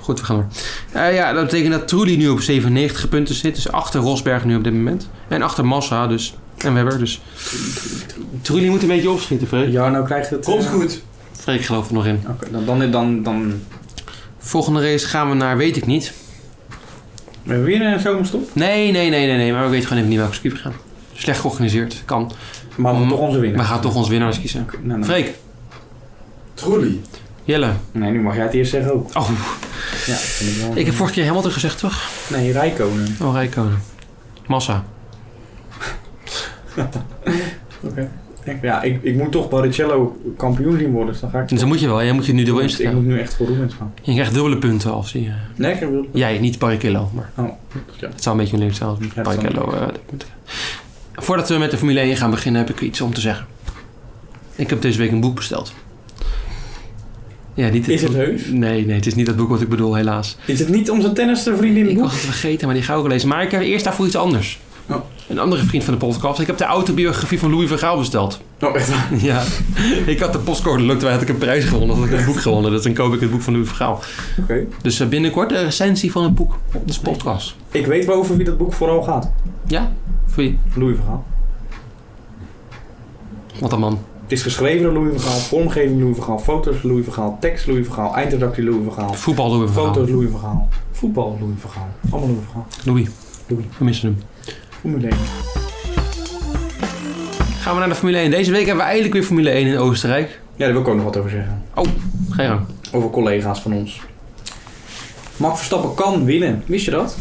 Goed, we gaan door. Eh, ja, dat betekent dat Trulli nu op 97 punten zit. Dus achter Rosberg nu op dit moment. En achter Massa dus. En Webber dus. Trulli moet een beetje opschieten, Freek. Ja, nou krijgt het... Komt eh, goed. week geloof ik nog in. Oké, dan, dan, dan, dan... Volgende race gaan we naar weet ik niet. We hebben weer een zomerstop. Nee, nee, nee, nee, nee. Maar we weten gewoon even niet welke scoop we gaan. Slecht georganiseerd. Kan. Maar we Mm. moeten toch onze We winnen. gaan toch onze winnaars kiezen. Oké, nou, dan- Freek, Truly. Jelle. Nee, nu mag jij het eerst zeggen ook. Oh, Ja, dat vind ik wel... ik heb vorige keer Hamilton gezegd, toch? Nee, Rijkonen. Oh, Rijkonen. Massa. Ja, ik, ik moet toch Barrichello kampioen zien worden, dus dan ga ik... Dus dan moet je wel. Jij moet je nu dubbel Ik instellen. moet nu echt voor Roemens gaan. Je krijgt dubbele punten als je... Lekker, wil. Jij, niet Barrichello, maar... Oh, ja. Het zou een beetje moeilijk zijn als dat Barrichello... eh, dat moet- Voordat we met de Formule 1 gaan beginnen, heb ik iets om te zeggen. Ik heb deze week een boek besteld. Ja, niet Is het boek- heus? Nee, nee, het is niet dat boek wat ik bedoel, helaas. Is het niet onze tennisvriendin Ik boek? was het vergeten, maar die ga ik ook lezen. Maar ik heb eerst daarvoor iets anders. Oh. Een andere vriend van de podcast. Ik heb de autobiografie van Louis van Gaal besteld. [laughs] Oh, echt waar? Ja. ik had de postcode lukt, waar had ik een prijs gewonnen. Had ik een boek gewonnen. Dus dan koop ik het boek van Louis van Gaal. Oké. Dus eh, binnenkort een recensie van het boek. op de podcast. Ik weet wel over wie dat boek vooral gaat. Ja? Voor wie? Louis van Gaal. Wat een man. Het is geschreven door Louis van Gaal, vormgeving Louis van Gaal, foto's Louis van Gaal, tekst Louis van Gaal, eindredactie Louis van Gaal, Voetbal Louis van Gaal. foto's Louis van Gaal, voetbal Louis van Gaal, allemaal Louis van Gaal, Louis. Louis. We missen hem. Formule 1. Gaan we naar de Formule 1. Deze week hebben we eindelijk weer Formule 1 in Oostenrijk. Ja, daar wil ik ook nog wat over zeggen. Geen gang. Over collega's van ons. Max Verstappen kan winnen, wist je dat?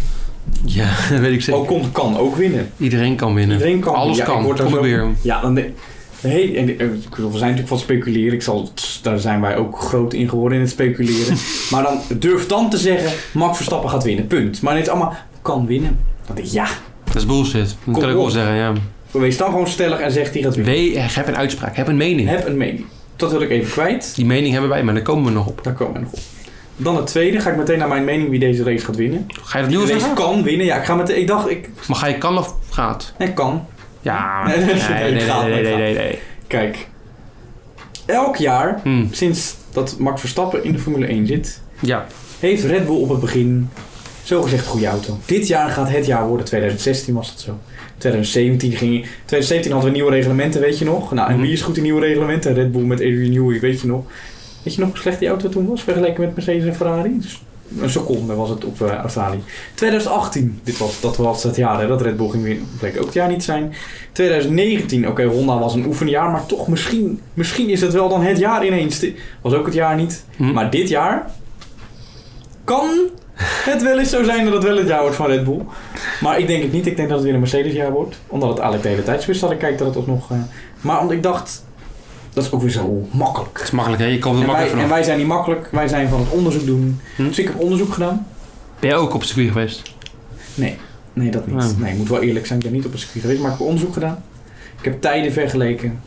Ja, [laughs] dat weet ik zeker. Ocon kan ook winnen. Iedereen kan winnen. Iedereen kan Alles winnen. Ja, kan. ik word daar Kom zo- ik weer. Ja, dan... de- Hey, en, eh, ik bedoel, we zijn natuurlijk van speculeren. Ik zal, daar zijn wij ook groot in geworden in het speculeren. [laughs] maar dan durf dan te zeggen, Max Verstappen gaat winnen, punt. Maar niet allemaal, kan winnen. Dan denk ik, ja, Dat is bullshit. Dat kan ik op. wel zeggen, ja. Wees dan gewoon stellig en zegt hij gaat winnen. Wee, heb een uitspraak. Heb een mening. Heb een mening. Dat wil ik even kwijt. Die mening hebben wij, maar daar komen we nog op. Daar komen we nog op. Dan het tweede. Ga ik meteen naar mijn mening wie deze race gaat winnen. Ga je dat nu Wie al de race zeggen? kan winnen. Ja, ik ga meteen. Ik dacht, ik, Maar ga je kan of gaat? ik kan. Ja. [laughs] Nee, nee, Nee, nee, nee, nee, gaat, nee, nee, gaat. nee, nee. Kijk. Elk jaar, Hm, sinds dat Max Verstappen in de Formule 1 zit, Ja. heeft Red Bull op het begin zogezegd goede auto. Dit jaar gaat het jaar worden. 2016 was dat zo. 2017 ging... 2017 hadden we nieuwe reglementen, weet je nog? Nou, en Mhm. wie is goed in nieuwe reglementen? Red Bull met Adrian Newey, weet je nog? Weet je nog hoe slecht die auto toen was? Vergeleken met Mercedes en Ferrari? Dus een seconde was het op eh, Australië. 2018, dit was, dat was het jaar hè, dat Red Bull ging winnen. Bleek ook het jaar niet te zijn. 2019, oké, Honda was een oefenjaar. Maar toch, misschien, misschien is het wel dan het jaar ineens. Dit Was ook het jaar niet. Hm. Maar dit jaar kan het wel eens zo zijn dat het wel het jaar wordt van Red Bull. Maar ik denk het niet. Ik denk dat het weer een Mercedes jaar wordt. Omdat het eigenlijk de hele tijd zo is dat ik kijk dat het alsnog... eh, maar omdat ik dacht, dat is ook weer zo makkelijk. Het is makkelijk, hè? Je komt er En wij, makkelijk en vanaf. wij zijn niet makkelijk. Wij zijn van het onderzoek doen. Hm. Dus ik heb onderzoek gedaan. Ben jij ook op circuit geweest? Nee, dat niet. Ja. Nee, ik moet wel eerlijk zijn. Ik ben niet op een circuit geweest. Maar ik heb onderzoek gedaan. Ik heb tijden vergeleken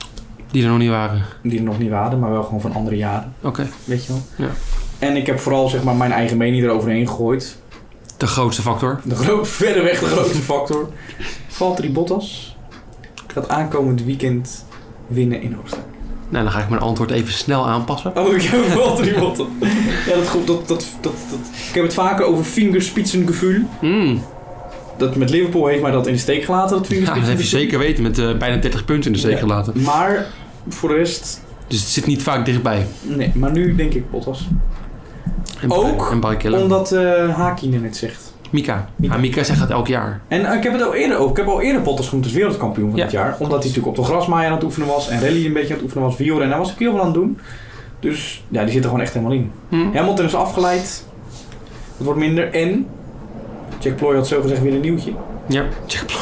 Die er nog niet waren. die er nog niet waren. Maar wel gewoon van andere jaren. Oké. Weet je wel. Ja. En ik heb vooral zeg maar, mijn eigen mening eroverheen gegooid. De grootste factor. De groot, [laughs] verder weg de grootste factor. Valtteri Bottas gaat aankomend weekend winnen in Oostenrijk. Nou, dan ga ik mijn antwoord even snel aanpassen. Oh, ik heb Valtteri Bottas. [laughs] Ja, dat, goed, dat, dat, dat, dat. Ik heb het vaker over fingerspitsengevoel. Mm. Dat met Liverpool heeft mij dat in de steek gelaten, dat Ja, dat heb je fingerspitsengevoel. zeker weten met eh, bijna 30 punten in de steek Ja. gelaten. Maar voor de rest, Dus het zit niet vaak dichtbij. nee. Maar nu denk ik Bottas. En Bar- Ook En Barrichello. Omdat eh Hakinen het zegt. Mika. Mika. Ja, Mika zegt dat elk jaar. En eh, ik heb het al eerder ook. Ik heb al eerder Bottas genoemd als wereldkampioen van Ja. dit jaar. Omdat hij natuurlijk op de grasmaaier aan het oefenen was. En rally een beetje aan het oefenen was. Wielrennen. Hij was ook heel veel aan het doen. Dus ja, die zit er gewoon echt helemaal in. Hm? Hamilton is afgeleid. Het wordt minder. En Jack Ploy had zogezegd weer een nieuwtje. Ja. Jack, Ploy.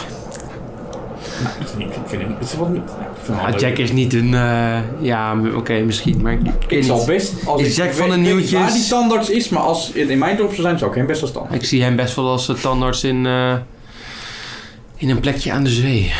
Nou, dat is niet. Ik vind hem... Het is wat niet. nou, ik vind hem wel Ah, leuk. Jack is niet een... eh, ja, m- oké, misschien. Maar ik, Ik weet zal niet. best... Als Is ik- Jack ik van weet- de ik weet niet nieuwtjes? Waar die standaards is, maar als in in mijn dorp zou zijn, zou ik hem best als standaard. Ik zie hem best wel als eh, tandarts in, eh, in een plekje aan de zee.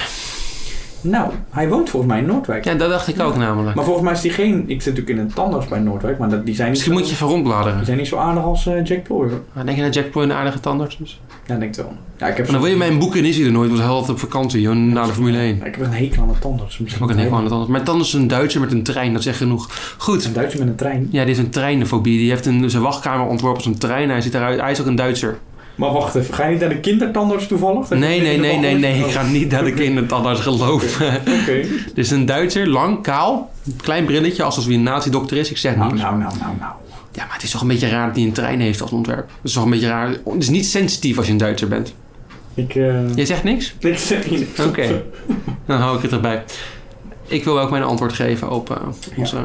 Nou, hij woont volgens mij in Noordwijk. Ja, dat dacht ik ook namelijk. Maar volgens mij is die geen... Ik zit natuurlijk in een tandarts bij Noordwijk, maar dat- die zijn niet Misschien zo- moet je even Die rondbladeren. zijn niet zo aardig als eh, Jack Ploy, hoor. Maar denk je dat Jack Ploy een aardige tandarts is? Ja, ik denk het wel. Ja, ik heb Maar dan wil je mijn boeken is hij er nooit, want hij had altijd op vakantie, joh, na de Formule 1. Ja, ik heb een hekel aan de tandarts. Ik heb ook een hekel aan het anders. Maar tandarts is een Duitser met een trein, dat is echt genoeg. Goed. Een Duitser met een trein. Ja, dit is een treinenfobie. Die heeft een, zijn wachtkamer ontworpen als een trein. Hij, zit eruit, hij is ook een Duitser. Maar wacht even, ga je niet naar de kindertandarts toevallig? Dat Nee, je nee, in de nee, nee, wachtlijst- nee. Ik ga niet naar de kindertandarts geloven. [laughs] Oké. [laughs] Dit is een Duitser, lang, kaal. Klein brilletje, alsof hij een nazi-dokter is. Ik zeg Nou, niet. nou, nou, nou, nou. Ja, maar het is toch een beetje raar dat hij een trein heeft als ontwerp. Het is toch een beetje raar. Het is niet sensitief als je een Duitser bent. Ik, eh Jij zegt niks? [laughs] ik zeg niet. Oké. Dan hou ik het erbij. Ik wil ook mijn antwoord geven op eh, onze...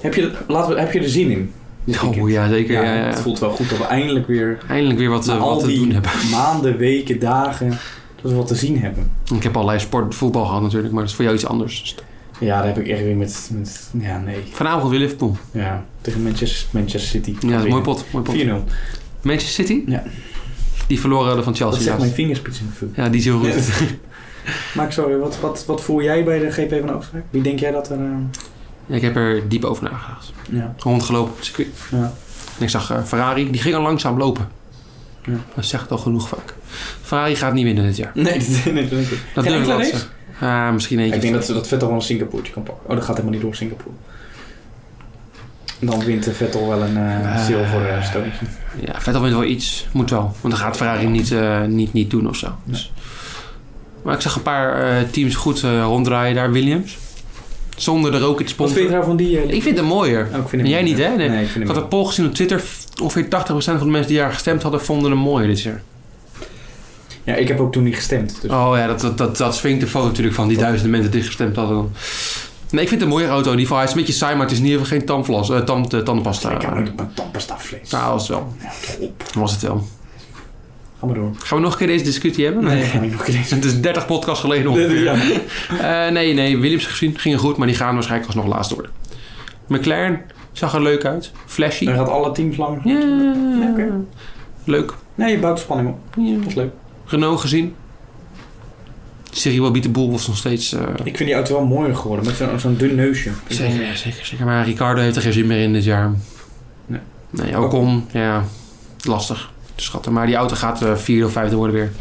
Heb je, er- laten we, heb je er zin in? Dit weekend? Oh ja, zeker. Ja, ja, Het voelt wel goed dat we eindelijk weer Eindelijk weer wat, eh, na wat al te die doen hebben. [laughs] maanden, weken, dagen, dat we wat te zien hebben. Ik heb allerlei sport, voetbal gehad natuurlijk, maar dat is voor jou iets anders. Ja, daar heb ik echt weer met, met ja, nee. Vanavond weer Liverpool. Ja, tegen Manchester, Manchester City. Ja, dat is mooi pot. Mooi pot. 4-0. Manchester City? Ja. Die verloren van Dat Chelsea. zegt laatst. mijn vingerspits in de vuur. Ja, die is heel goed. [laughs] Maar ik sorry, wat, wat, wat voel jij bij de GP van Oostenrijk? Wie denk jij dat er... eh, Ja, Ik heb er diep over nagedacht. ja. Rondgelopen op het circuit. Ja. En ik zag eh, Ferrari, die ging al langzaam lopen. Ja. Dat zegt al genoeg vaak. Ferrari gaat niet winnen dit jaar. [laughs] [laughs] Nee, dat, nee, dat denk ik. Geen Dat durf ik enkele wel te race? zeggen. Ah, misschien eentje. Ik denk of dat, dat Vettel wel een Singapoortje kan pakken. Oh, dat gaat helemaal niet door Singapore. Dan wint eh, Vettel wel een eh Eh, zilveren eh, stoontje. twee. Ja, Vettel wint wel iets. Moet wel. Want dan gaat Ferrari niet, eh, niet, niet doen of zo. Dus. Maar ik zag een paar eh, teams goed eh, ronddraaien daar. Williams. Zonder de rocket Wat vind je sponsor. daar van die... eh, Ik vind hem mooier. Oh, ik vind hem En jij niet, hè? Nee. Nee, ik vind Ik hem had een poll gezien op Twitter. F- Ongeveer 80% van de mensen die daar gestemd hadden, vonden hem mooier dit jaar. Ja, ik heb ook toen niet gestemd. Dus. Oh ja, dat, dat, dat, dat swingt de foto natuurlijk van die duizenden mensen die gestemd hadden dan. Nee, ik vind het een mooie auto in ieder geval. Hij is een beetje saai, maar het is in ieder geval geen tandvlas, eh, tand, eh, tandpasta. ik heb Nou, nooit op mijn tandpasta vlees. dat was het wel. Dat was het wel. Ga maar door. Gaan we nog een keer deze discussie hebben? Nee, ga ik nog niet eens. [laughs] Het is 30 podcasts geleden ongeveer. Eh, nee, nee, Williams gezien. Ging goed, maar die gaan waarschijnlijk alsnog laatst worden. McLaren zag er leuk uit. Flashy. Dan Ja. gaat alle teams lang. oké. Leuk. Nee, je bouwt spanning op. Ja. Dat is leuk. Renault gezien. Cyril Abiteboul was nog steeds... eh, Ik vind die auto wel mooier geworden. Met zo'n zo'n dun neusje. Zeker, zeker, zeker. Maar Ricardo heeft er geen zin meer in dit jaar. Nee. Nee, Ocon, ja, lastig te schatten. Maar die auto gaat eh, vierde of vijfde worden weer.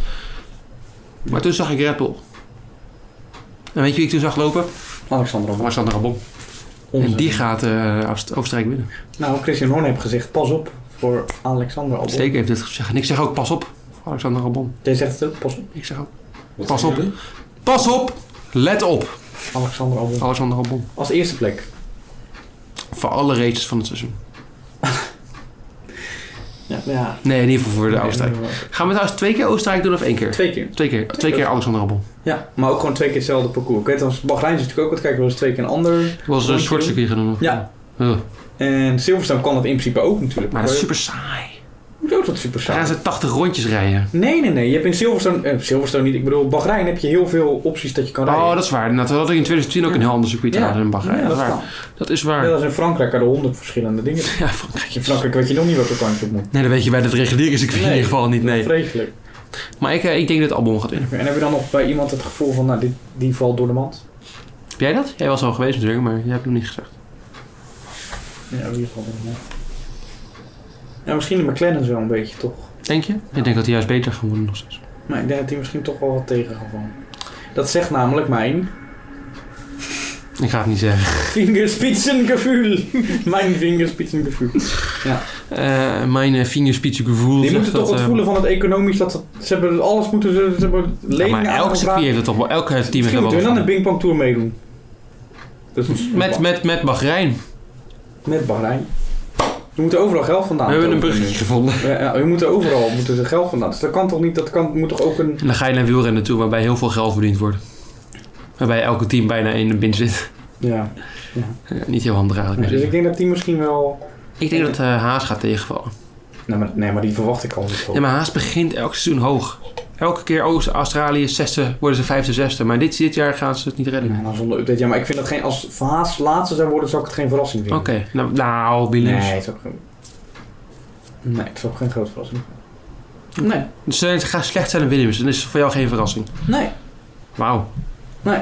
Maar toen zag ik Red Bull. En weet je wie ik toen zag lopen? Alexander Albon. Alexander Albon. En Onze- die gaat eh, Oost- Oostenrijk winnen. Nou, Christian Horner heeft gezegd, pas op voor Alexander Albon. Steker heeft dit gezegd. En ik zeg ook, pas op, Alexander Albon. Jij zegt het ook, pas op. Ik zeg ook, Wat Pas zijn op. jullie? pas op, let op, Alexander Albon. Alexander Albon. Als eerste plek. Voor alle races van het seizoen. Ja. ja. Nee, in ieder geval voor de Oostenrijk. Gaan we trouwens twee keer Oostenrijk doen of één keer? Twee keer. Twee keer, twee keer Alexander Albon. Ja, maar ook gewoon twee keer hetzelfde parcours. Ik weet, als Bahrein is natuurlijk ook wat kijken, was twee keer een ander. Het was een soort circuit genoemd. Ja. Ugh. En Silverstone kan dat in principe ook natuurlijk. Maar dat is super saai. Hoezo is dat super Dan saai? gaan ze 80 rondjes rijden. Nee, nee, nee. Je hebt in Silverstone... eh, Silverstone niet. Ik bedoel, Bahrein heb je heel veel opties dat je kan rijden. Oh, dat is waar. Dat hadden we in 2010 ook een heel ander circuit Ja. hadden in Ja, dat Bahrein. dat, is kan. waar. dat is waar. Ja, dat is in Frankrijk hadden honderd verschillende dingen. [laughs] [laughs] Ja, Frankrijk. In Frankrijk weet je nog niet welke kant je op moet. Nee, dat weet je bij dat reguliere circuit in Nee. ieder geval niet. Nee. Vreselijk. Maar ik, eh, ik denk dat Albon gaat winnen. En heb je dan nog bij iemand het gevoel van, nou, dit, die valt door de mand? Heb jij dat? Jij was al geweest natuurlijk, maar jij hebt nog niet gezegd. Ja, wie valt door de mand? Ja, misschien de McLaren's wel een beetje, toch? Denk je? Ik denk dat hij juist beter gaat worden nog steeds. Maar ik denk dat die misschien toch wel wat tegengevallen. Dat zegt namelijk mijn Ik ga het niet zeggen. vingerspitsengevoel. [laughs] mijn vingerspitsengevoel. Eh, mijn uh, vingerspitsengevoel Die zegt moeten toch dat... wat eh, voelen van het economisch. Dat ze, ze hebben alles moeten... Ze, ze hebben ja, leningen maar elk circuit aangevraagd. heeft het toch wel. Elke team heeft Misschien er moeten we wel dan een wat Bing Bang Tour meedoen. Dat is van. Met, met, met Bahrein. met Bahrein. We moeten overal geld vandaan. We hebben een toveren nu. bruggetje gevonden. Ja, ja, we moeten overal moeten er geld vandaan. Dus dat kan toch niet, dat kan, moet toch ook een... En dan ga je naar wielrennen toe, waarbij heel veel geld verdiend wordt. Waarbij elke team bijna in de bin zit. [laughs] Ja. Ja, niet heel handig eigenlijk. Dus ik denk dat die misschien wel... Ik denk dat eh, Haas gaat tegenvallen. Nee, maar, nee, maar die verwacht ik al niet zo. Ja, maar Haas begint elk seizoen hoog. Elke keer Oost-Australië zesde, worden ze vijfde, zesde. Maar dit, dit jaar gaan ze het niet redden. Nee, nou, zonder update. Ja, maar ik vind dat geen... Als Haas laatste zou worden, zou ik het geen verrassing Oké, vinden. nou, nou Williams. Nee, het is ook geen... Nee, het is ook geen grote verrassing. Nee. Dus eh, het gaat slecht zijn aan Williams. Dan is het voor jou geen verrassing. Nee. Wauw. Nee.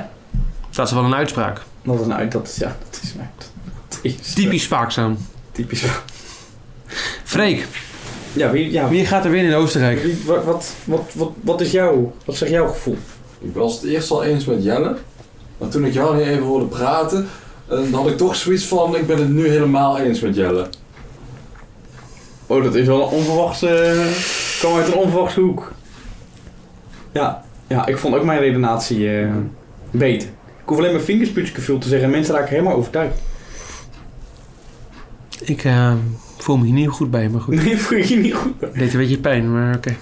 Dat is wel een uitspraak. Dat is een uit... Dat is, ja, dat is een uit. Dat is, Typisch spaakzaam. Typisch. Freek, Ja, wie, ja, wie gaat er winnen in Oostenrijk? Wie- Wat, wat, wat, wat, wat is jouw, wat zegt jouw gevoel? Ik was het eerst al eens met Jelle. Maar toen ik jou niet even hoorde praten, eh, dan had ik toch zoiets van, ik ben het nu helemaal eens met Jelle. Oh, dat is wel een onverwachte... eh, kwam uit een onverwachte hoek. Ja, ja ik vond ook mijn redenatie eh, beter. Ik hoef alleen mijn vingerspitje gevuld te zeggen. Mensen raken helemaal overtuigd. Ik eh, voel me hier niet goed bij, maar goed. Nee, [laughs] voel je je niet goed. Deed een beetje pijn, maar oké.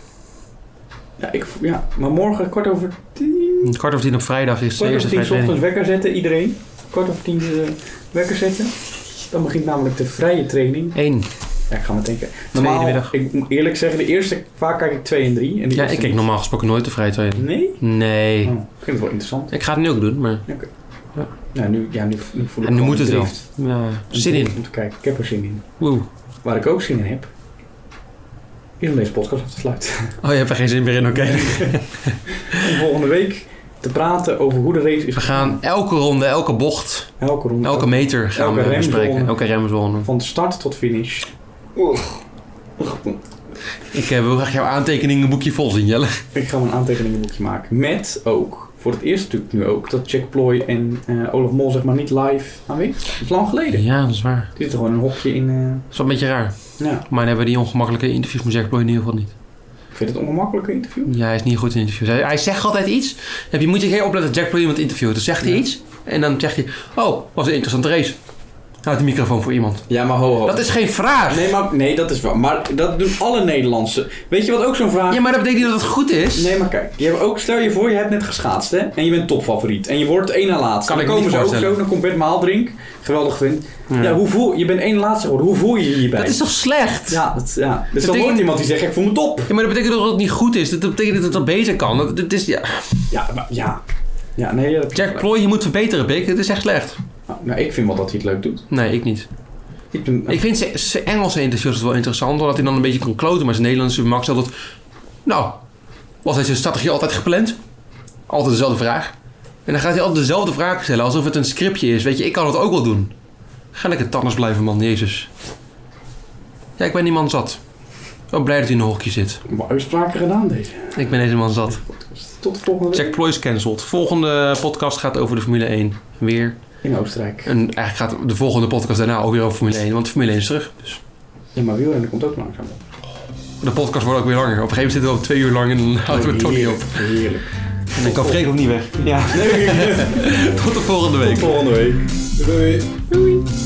Ja, ik, voel- ja, maar morgen kwart over tien... Kwart over tien op vrijdag is de Kwart over Dus eerste tien 's ochtends wekker vrijtraining. zetten, iedereen. Kwart over tien eh, wekker zetten. Dan begint namelijk de vrije training. Eén. Ja, ik ga maar denken. Normaal, middag. ik moet eerlijk zeggen, de eerste, vaak kijk ik 2 en 3. En de Ja, eerste ik kijk niet. normaal gesproken nooit de vrijtraining. Nee? Nee. Oh, ik vind het wel interessant. Ik ga het nu ook doen, maar Nou, nu, ja, nu, nu voel ik En nu gewoon moet het wel. drift. ja, zin in. Om te kijken. Dus Ik heb er zin in. Woe. Waar ik ook zin in heb, is om deze podcast af te sluiten. [laughs] Oh, je hebt er geen zin meer in, oké. Om volgende week te praten over hoe de race is. We gaan elke ronde, elke bocht, elke ronde. elke meter gaan Elke we bespreken. remzone. Elke remzone. Van start tot finish. Ik eh, wil graag jouw aantekeningenboekje vol zien, Jelle. Ik ga mijn aantekeningenboekje maken. Met ook, voor het eerst natuurlijk nu ook, dat Jack Ploy en eh, Olaf Mol zeg maar niet live aanwezig zijn. Dat is lang geleden. Ja, dat is waar. Er zit er gewoon een hokje in. eh, Dat is wel een beetje raar. ja, Maar dan hebben we die ongemakkelijke interviews met Jack Ploy in ieder geval niet. ik vind het een ongemakkelijke interview. Ja, hij is niet goed in interviews. Hij, hij zegt altijd iets. Heb je moet je keer opletten dat Jack Ploy iemand interviewt. Dan zegt hij Ja. iets en dan zegt hij... Oh, was een interessante race. Houd de microfoon voor iemand. Ja, maar ho ho. Dat is geen vraag. Nee, maar, nee, dat is waar. Maar dat doen alle Nederlandse. Weet je wat ook zo'n vraag... Ja, maar dat betekent niet dat het goed is. Nee, maar kijk. Je hebt ook, stel je voor, je hebt net geschaatst, hè? En je bent topfavoriet. En je wordt één na laatste. dan Kan ik me komen niet ze ook voorstellen. zo. Dan komt Bert Maaldrink. Geweldig vind. Ja, Ja. hoe voel, je bent één laatste geworden. Hoe voel je je hierbij? Dat is toch slecht? Ja, dat, ja. Dus dan betekent- wordt iemand die zegt, ik voel me top. Ja, maar dat betekent toch dat het niet goed is. Dat betekent dat het wel beter kan. Dat, dat is, ja. Ja, maar, ja. Ja, nee, ja, dat Jack Ploy, je moet verbeteren, Pik. Het is echt slecht. Nou, nou, ik vind wel dat hij het leuk doet. Nee, ik niet. Ik ben, Nou, Ik vind zijn- zijn Engelse interviews wel interessant, omdat hij dan een beetje kan kloten. Maar zijn Nederlandse Max altijd... Nou, was hij zijn strategie altijd gepland? Altijd dezelfde vraag. En dan gaat hij altijd dezelfde vraag stellen, alsof het een scriptje is. Weet je, ik kan het ook wel doen. Ga lekker tanners blijven, man. Jezus. Ja, ik ben die man zat. Wel blij dat hij in een hokje zit. Maar uitspraken gedaan deze. Dus Ik ben deze man zat. Tot de volgende week Jack Ploy is cancelled. Volgende podcast gaat over de Formule 1. Weer. in Oostenrijk. En eigenlijk gaat de volgende podcast daarna ook weer over Formule 1. Want Formule 1 is terug. Dus Ja, maar wielrennen komt ook langzaam op. de podcast wordt ook weer langer. Op een gegeven moment zitten we op twee uur lang en dan houden we het toch niet op. Heerlijk, Heerlijk. En dan Oh, kan Freek ook niet weg. Ja, nee, [laughs] Tot de volgende week. tot volgende week. Doei.